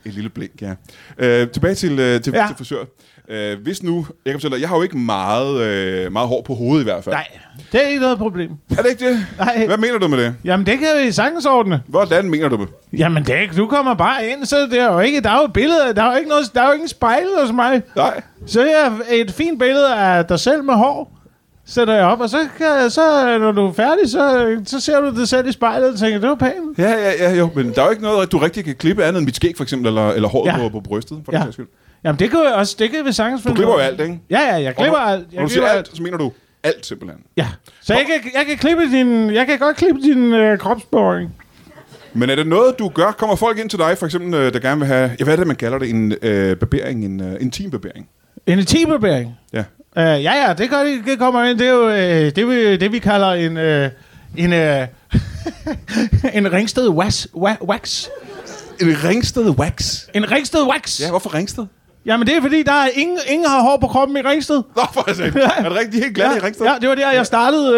A: Et lille blink, ja. Øh, tilbage til, øh, til, ja.
C: Ja.
A: til frisør. Øh, hvis nu, jeg kan fortælle dig, jeg har jo ikke meget, øh, meget hår på hovedet i hvert fald.
C: Nej, det er ikke noget problem.
A: Er det ikke det?
C: Nej.
A: Hvad mener du med det?
C: Jamen, det kan vi sagtens ordne.
A: Hvordan mener du det?
C: Jamen, det er ikke. Du kommer bare ind, så det er jo ikke... Der er jo billeder. Der er jo ikke noget, der er jo ingen spejl hos mig.
A: Nej.
C: Så jeg har et fint billede af dig selv med hår. Sætter jeg op, og så, kan, så når du er færdig, så, så ser du det selv i spejlet og tænker, det var pænt.
A: Ja, ja, ja, jo, men der er jo ikke noget, du rigtig kan klippe andet end mit skæg, for eksempel, eller, eller håret ja.
C: Ja.
A: på, på brystet, for ja.
C: Ja.
A: den sags skyld.
C: Jamen, det kan vi også, det kan vi sagtens
A: Du
C: finde
A: klipper
C: ud
A: jo
C: af.
A: alt, ikke?
C: Ja, ja, jeg klipper alt.
A: Når
C: Jeg
A: du siger
C: klipper
A: alt, så mener du alt, simpelthen.
C: Ja. Så jeg kan, jeg kan klippe din, jeg kan godt klippe din øh, kropsboring.
A: Men er det noget, du gør? Kommer folk ind til dig, for eksempel, øh, der gerne vil have... Ja, hvad er det, man kalder det? En øh, barbering? En øh, intim barbering?
C: En intimbarbering.
A: Ja.
C: Øh, ja, ja, det, gør, det, det kommer ind. Det er jo øh, det, vi, det, vi kalder en, øh, en, øh, *laughs* en ringsted was, wa, wax.
A: En
C: Øh,
A: ringsted wax.
C: En ringsted wax.
A: Ja, hvorfor ringsted?
C: Jamen, det er fordi, der er ingen, ingen har hår på kroppen i ringsted.
A: Nå, for altså, er det rigtig helt glat i ringsted?
C: ja, det var der, jeg startede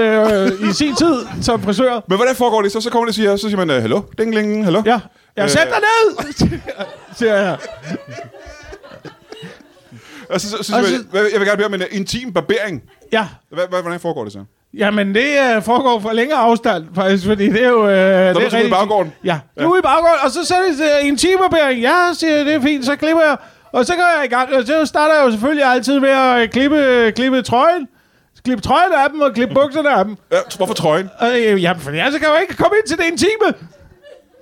C: øh, i
A: *laughs*
C: sin tid som frisør.
A: Men hvordan foregår det så? Så kommer det og siger, så siger man, øh, hallo, dinglingen, hallo.
C: Ja, jeg
A: Øh.
C: øh. sæt dig ned, *laughs* siger jeg.
A: Og så, så, så, så, siger
C: Og så-
A: man, "Hvad- jeg vil gerne bede om en øh, intim barbering.
C: Ja,
A: Hvad- hvad- Hvordan foregår det så?
C: Jamen, det øh, foregår fra længere afstand, faktisk, fordi det er jo... Øh, det er
A: du skal ud i
C: rigtig-
A: baggården.
C: Ja, ja. ude i baggården, og så sætter jeg en timebæring. Ja, siger jeg, det er fint, så klipper jeg. Og så går jeg i gang, og så starter jeg jo selvfølgelig altid med at øh, klippe, klippe trøjen. Klippe trøjen af dem, og klippe bukserne af dem.
A: Ja, hvorfor trøjen?
C: Og, øh, jamen, for ellers kan jeg jo ikke komme ind til det intime.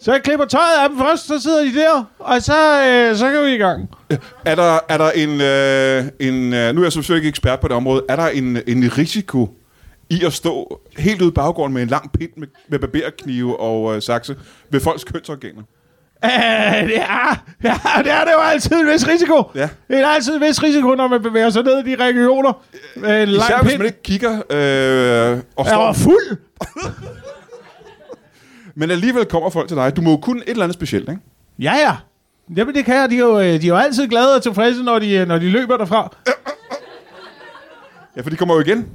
C: Så jeg klipper tøjet af dem først, så sidder de der, og så, øh, så kan vi i gang. *laughs*
A: Er der, er der en, øh, en øh, nu er jeg selvfølgelig ikke ekspert på det område, er der en, en risiko i at stå helt ude i baggården med en lang pind med, med barberknive og øh, sakse ved folks kønsorganer?
C: Øh, det er, ja, det er det jo altid en vis risiko.
A: Ja.
C: Det er altid en vis risiko, når man bevæger sig ned i de regioner. Øh,
A: Især hvis man ikke kigger øh, og
C: Jeg
A: står.
C: var fuld.
A: Men alligevel kommer folk til dig. Du må jo kunne et eller andet specielt, ikke?
C: Ja, ja. Jamen, det kan jeg. De er jo, øh, de er jo altid glade og tilfredse, når de, øh, når de løber derfra.
A: Ja, for de kommer jo igen.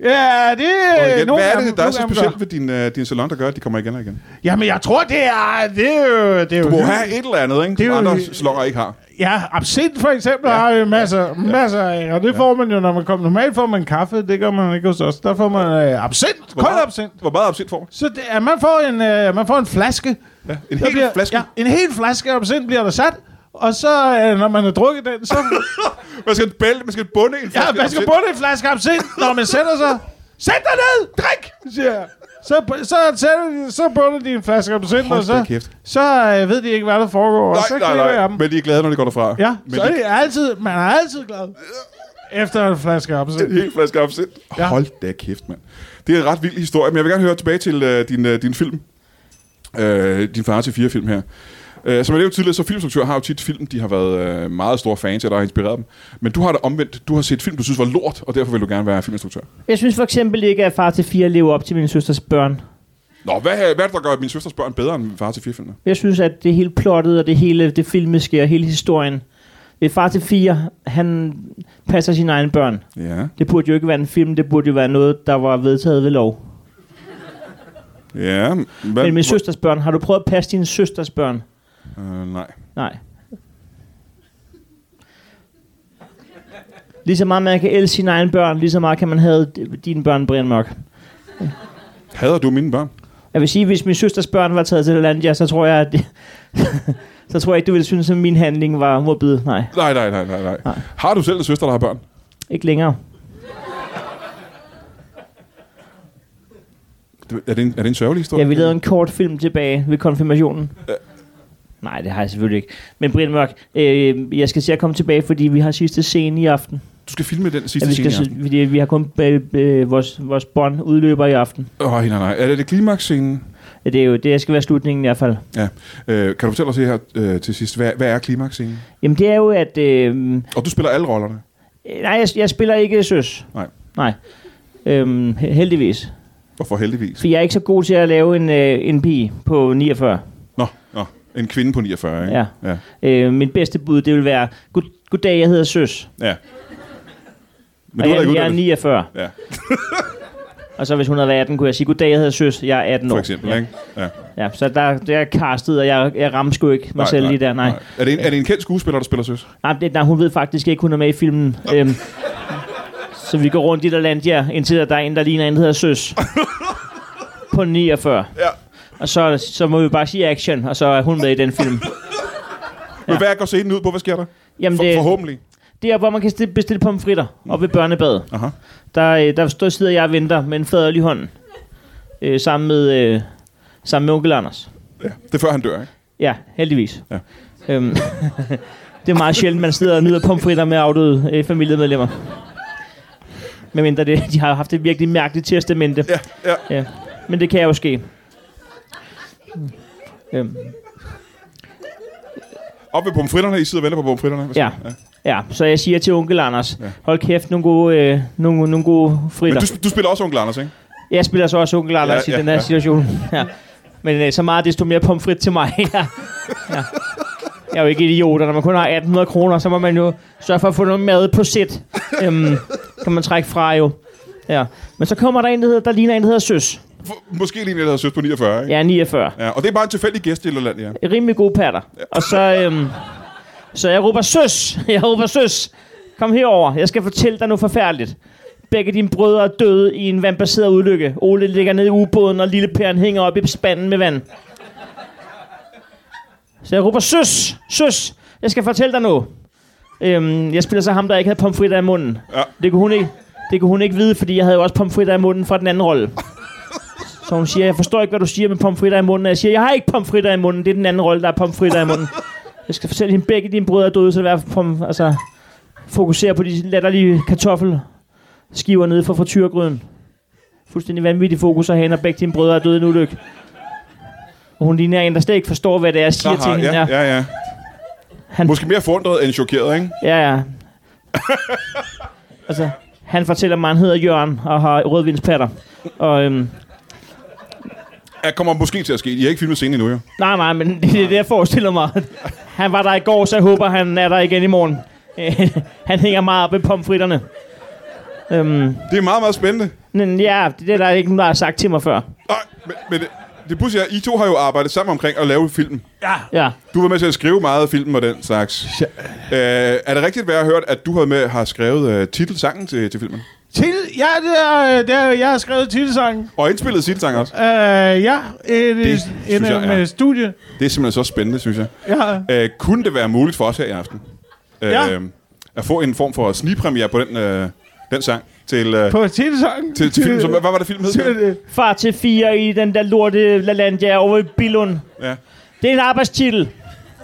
C: Ja, det
A: Og igen.
C: er
A: Hvad er det, der er
C: Øh, nogle
A: så
C: af dem
A: specielt
C: gør.
A: ved din, øh, din salon, der gør, at de kommer igen og igen?
C: Jamen, jeg tror, det er... Det er jo, det er jo
A: Du må
C: hyggeligt.
A: have et eller andet, ikke?
C: Det er
A: Som
C: jo-
A: andre salonger ikke har.
C: Ja, absint for eksempel ja. har jo masser, ja. masser af, og det ja. får man jo, når man kommer. Normalt får man kaffe, det gør man ikke hos os. Der får man øh, absint,
A: Hvor
C: kold
A: meget-
C: absint.
A: Hvor meget absint får man?
C: Så det, at man, får en, øh, man får en flaske. Ja,
A: En hel
C: bliver,
A: flaske?
C: Ja, en hel flaske absint bliver der sat. Og så, øh, når man har drukket
A: *laughs*
C: den, så...
A: Man skal, bælte, man skal bunde en
C: ja,
A: flaske
C: man skal
A: absint.
C: bunde en flaske absint, når man sætter sig. Sæt dig ned! Drik! Siger jeg. Så, så, sætter de, så bunder de en flaske absint,
A: Hold
C: og
A: da
C: så,
A: kæft.
C: så øh, ved de ikke, hvad der foregår. og så
A: Nej, nej,
C: klipper
A: nej.
C: jeg dem.
A: Men de er glade, når de går derfra.
C: Ja,
A: Men
C: så
A: de
C: er det altid, man er altid glad. Efter en flaske absint.
A: En hel flaske absint. Ja.
C: Ja.
A: Hold da kæft, mand. Det er en ret vild historie, men jeg vil gerne høre tilbage til øh, din, øh, din film. Øh, din far til fire film her. Øh, som jeg nævnte tidligere, så filmstruktører har jo tit film, de har været øh, meget store fans af, der har inspireret dem. Men du har det omvendt. Du har set film, du synes var lort, og derfor vil du gerne være filminstruktør.
B: Jeg synes for eksempel ikke, at far til fire lever op til min søsters børn.
A: Nå, hvad, øh, hvad er det, der gør min søsters børn bedre end far til fire film?
B: Jeg synes, at det hele plottet og det hele det filmiske og hele historien. Det er far til fire, han passer sine egne børn.
A: Ja,
B: Det burde jo ikke være en film, det burde jo være noget, der var vedtaget ved lov.
A: ja. Hvad,
B: Men min søsters børn, har du prøvet at passe dine søsters børn?
A: Øh, nej.
B: Nej. Lige så meget man kan elske sine egne børn, lige så meget kan man have dine børn, Brian Mørk.
A: Hader du mine børn?
B: Jeg vil sige, hvis min søsters børn var taget til Lalandia, så tror jeg, at *laughs* så tror jeg ikke, du ville synes, at min handling var morbid. Nej,
A: Nej, nej, nej, nej, nej.
B: Nej.
A: Har du selv en søster, der har børn?
B: ikke længere.
A: Er det en, er det en sørgelig historie?
B: Ja, vi lavede en kort film tilbage ved konfirmationen. Nej, det har jeg selvfølgelig ikke. Men Brian Mørk, øh, jeg skal se at komme tilbage, fordi vi har sidste scene i aften.
A: Du skal filme den sidste
B: Ja, vi, skal,
A: scene i aften.
B: se- fordi vi har kun øh, øh, vores, vores bånd udløber i aften.
A: Åh, oh, nej, nej. Er det, det klimaksscenen?
B: Ja, det er jo det, skal være slutningen i hvert fald.
A: Ja. Øh, kan du fortælle os her øh, til sidst, hvad, hvad er klimaksscenen?
B: Jamen det er jo, at... Øh,
A: Og du spiller alle rollerne.
B: Øh, Nej, jeg, jeg spiller ikke søs.
A: Nej.
B: Nej. Øhm, he- heldigvis.
A: Hvorfor heldigvis?
B: For jeg er ikke så god til at lave en, øh, en pige på 49.
A: Nå, nå. En kvinde på 49, ikke?
B: Ja.
A: Ja.
B: Øh, min bedste bud, det vil være, God, goddag, jeg hedder søs.
A: ja. Men
B: Og
A: du har da
B: jeg,
A: ikke
B: jeg er
A: uddannet,
B: 49.
A: Ja.
B: og så hvis hun havde været 18, kunne jeg sige, goddag, jeg hedder søs, jeg er 18 år.
A: for eksempel,
B: ja.
A: ikke? Ja.
B: ja, så der, der er castet, og jeg, jeg rammer sgu ikke mig nej, selv lige der. Nej. Nej.
A: Er, det en, er det en kendt skuespiller, der spiller søs?
B: Nej, det, nej, hun ved faktisk ikke, hun er med i filmen. Øhm, så vi går rundt i der land, ja, indtil der er en, der ligner en, der hedder søs. på 49.
A: Ja.
B: Og så, så må vi bare sige action, og så er hun med i den film.
A: Men hvad går scenen ud på? Hvad sker der?
B: Jamen,
A: For,
B: det,
A: forhåbentlig.
B: det er, hvor man kan stille- bestille pomfritter og ved børnebadet.
A: Aha.
B: Der, øh, der står, sidder jeg og venter med en faderlig hånd. Øh, sammen, med, øh, sammen med onkel Anders.
A: Ja. Det er før han dør, ikke?
B: Ja, heldigvis.
A: Ja.
B: Øhm, *laughs* det er meget sjældent, man sidder og nyder pomfritter med afdøde øh, familiemedlemmer. Medmindre det, de har haft et virkelig mærkeligt testamente.
A: Ja, ja.
B: Ja, men det kan jo ske. Øhm,
A: Op ved pomfritterne. I sidder og venter på pomfritterne. Hvad
B: Ja.
A: sker der?
B: Ja, så jeg siger til onkel Anders, ja. hold kæft, nogle gode, øh, nogle, nogle gode fritter.
A: Men du, du spiller også onkel Anders, ikke?
B: Jeg spiller så også onkel Anders ja,
A: Ja, ja,
B: i den her
A: ja.
B: situation. Ja. Men øh, så meget desto mere pomfrit til mig. *laughs* ja. Ja. Jeg er jo ikke idiot, og når man kun har 1800 kroner, så må man jo sørge for at få noget mad på sæt. Øhm, kan man trække fra jo. Ja. Men så kommer der en, der, hedder, der ligner en, der hedder Søs.
A: For, måske lige en, der hedder søs på 49, ikke?
B: Jeg er 49.
A: Ja. Og det er bare en tilfældig gæst i Lolland, ja.
B: rimelig gode patter. Og så, øhm, så jeg råber, søs, *laughs* jeg råber, søs, kom herover, jeg skal fortælle dig noget forfærdeligt. Begge dine brødre er døde i en vandbaseret ulykke. Ole ligger nede i ubåden, og lille Peren hænger op i spanden med vand. Så jeg råber, søs, søs, jeg skal fortælle dig noget. Øhm, jeg spiller så ham, der ikke havde pomfritter i munden.
A: Ja.
B: Det, kunne hun ikke, det kunne hun ikke vide, fordi jeg havde jo også pomfritter i munden fra den anden rolle. Så hun siger, jeg forstår ikke, hvad du siger med pomfritter i munden. Og jeg siger, jeg har ikke pomfritter i munden. Det er den anden rolle, der er pomfritter i munden. Jeg skal fortælle hende, begge dine brødre er døde, så vær pom, altså, fokusere på de latterlige kartoffelskiver nede fra frityrgryden. Fuldstændig vanvittig fokus at have, og begge dine brødre er døde i en ulykke. Og hun ligner en, der slet ikke forstår, hvad det er, jeg siger Aha, til hende.
A: ja, ja, ja.
B: Han-
A: Måske mere forundret end chokeret, ikke?
B: Ja, ja. altså, han fortæller mig, at han hedder Jørgen og har rødvinspatter. Og, øhm,
A: Ja, kommer måske til at ske. I har ikke filmet scenen endnu, jo.
B: nej, nej, men det er det, jeg forestiller mig. Han var der i går, så jeg håber, han er der igen i morgen. *laughs* Øh, han hænger meget op i pomfritterne. Øhm,
A: Det er meget, meget spændende.
B: men ja, det er der ikke nogen, der har sagt til mig før.
A: Nej, men, men det, det pudsige er, I to har jo arbejdet sammen omkring at lave filmen.
B: Ja.
A: Du var med til at skrive meget af filmen og den slags. Ja. Øh, er det rigtigt, hvad jeg har hørt, at du har, med, har skrevet øh, titelsangen til, til filmen?
C: Til, ja, det er, øh, det er, jeg har skrevet titelsangen.
A: Og indspillet titelsangen også?
C: Uh, ja, en, det, en,
A: synes jeg,
C: en
A: ja.
C: ja. øh, studie.
A: Det er simpelthen så spændende, synes jeg.
C: Ja.
A: Øh, kunne det være muligt for os her i aften? Øh,
C: Ja.
A: At få en form for snigpremiere på den, øh, den sang til, øh,
C: På titelsangen.
A: til, til filmen. Som, hvad var det film hed?
C: Til,
A: Peter?
C: øh,
B: Far til fire i den der lorte LaLandia over i Billund.
A: Ja.
B: Det er en arbejdstitel.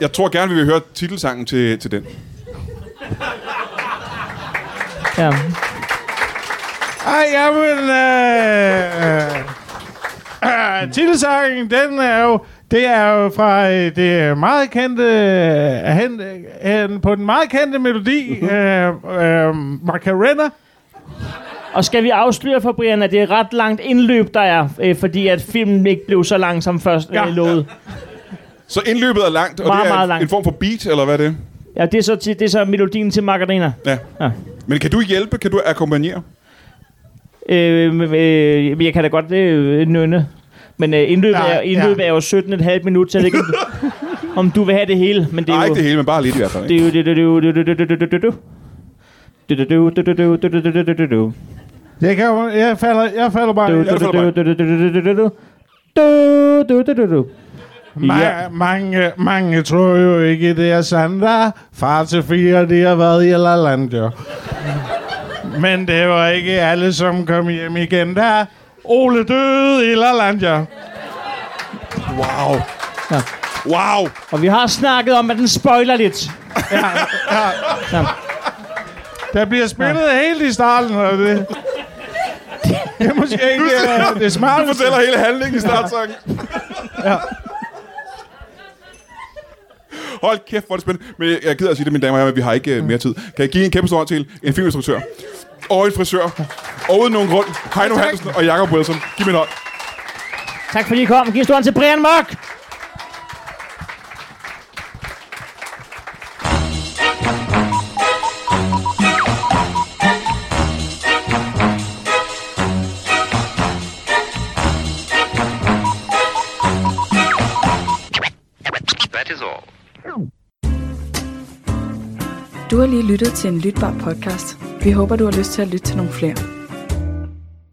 A: Jeg tror gerne, vi vil høre titelsangen til, til den.
B: Ja.
C: Ej, jamen... Øh, øh, titelsangen, den er jo... Det er jo fra øh, det meget kendte... Øh, hen, øh, hen, på den meget kendte melodi,
A: Mhm.
C: øh, øh, Macarena.
B: Og skal vi afsløre for Brian, at det er ret langt indløb, der er, øh, fordi at filmen ikke blev så lang som først ja.
C: Ja.
B: øh, lovet.
A: Så indløbet er langt, og
B: Meget,
A: det er
B: meget
A: en,
B: langt.
A: en form for beat, eller hvad er det?
B: Ja, det er så, til, det er så melodien til Margarina.
A: Ja.
B: Ja.
A: Men kan du hjælpe? Kan du akkompagnere?
B: Øh, men, øh, men jeg kan da godt øh, nynne. Men øh, indløbet,
C: Ja,
B: ja, er, indløbet ja.
C: ja.
B: er jo 17,5 minut, så jeg ved ikke, om du- om du vil have det hele. Men det er
A: Nej,
B: jo,
A: ikke det hele, men bare lidt i hvert fald.
B: Det
A: Ikke?
B: er jo... Det er jo... Det er jo... Det er jo... Det er jo... Det er jo... Det er jo... Det er jo... Det er jo... Det er jo... Det er jo...
C: Jeg, kan, jo- jeg, falder, jeg falder bare...
B: Du,
C: Jeg,
B: du,
A: det
B: du,
A: for
B: du,
A: mig.
B: du, du, du, du, du, du. Du, du, du, du, du.
C: ma-
B: Ja.
C: mange, mange tror jo ikke, det er Sandra. Far til fire, det har været i La Landia. Men det var ikke alle, som kom hjem igen der. Ole døde i La Landia.
A: Wow.
B: Ja.
A: Wow.
B: Og vi har snakket om, at den spoiler lidt.
C: Der bliver spillet ja. helt i starten, og det... Det er måske ikke øh, det
A: Du
C: smarte.
A: fortæller hele handlingen i startsangen.
C: Ja.
A: Hold kæft, hvor er det spændende. Men jeg- jeg gider at sige det, mine damer og herrer, men vi har ikke øh, mere tid. Kan jeg give en kæmpe stor hånd til en filminstruktør, og en frisør, og uden nogen grund, Heino Hansen og Jakob Wilson. Giv mig en hånd.
B: Tak fordi I kom. Giv stående til Brian Mørk.
D: That is all.
E: Du har lige lyttet til en lytbar podcast. Vi håber, du har lyst til at lytte til nogle flere.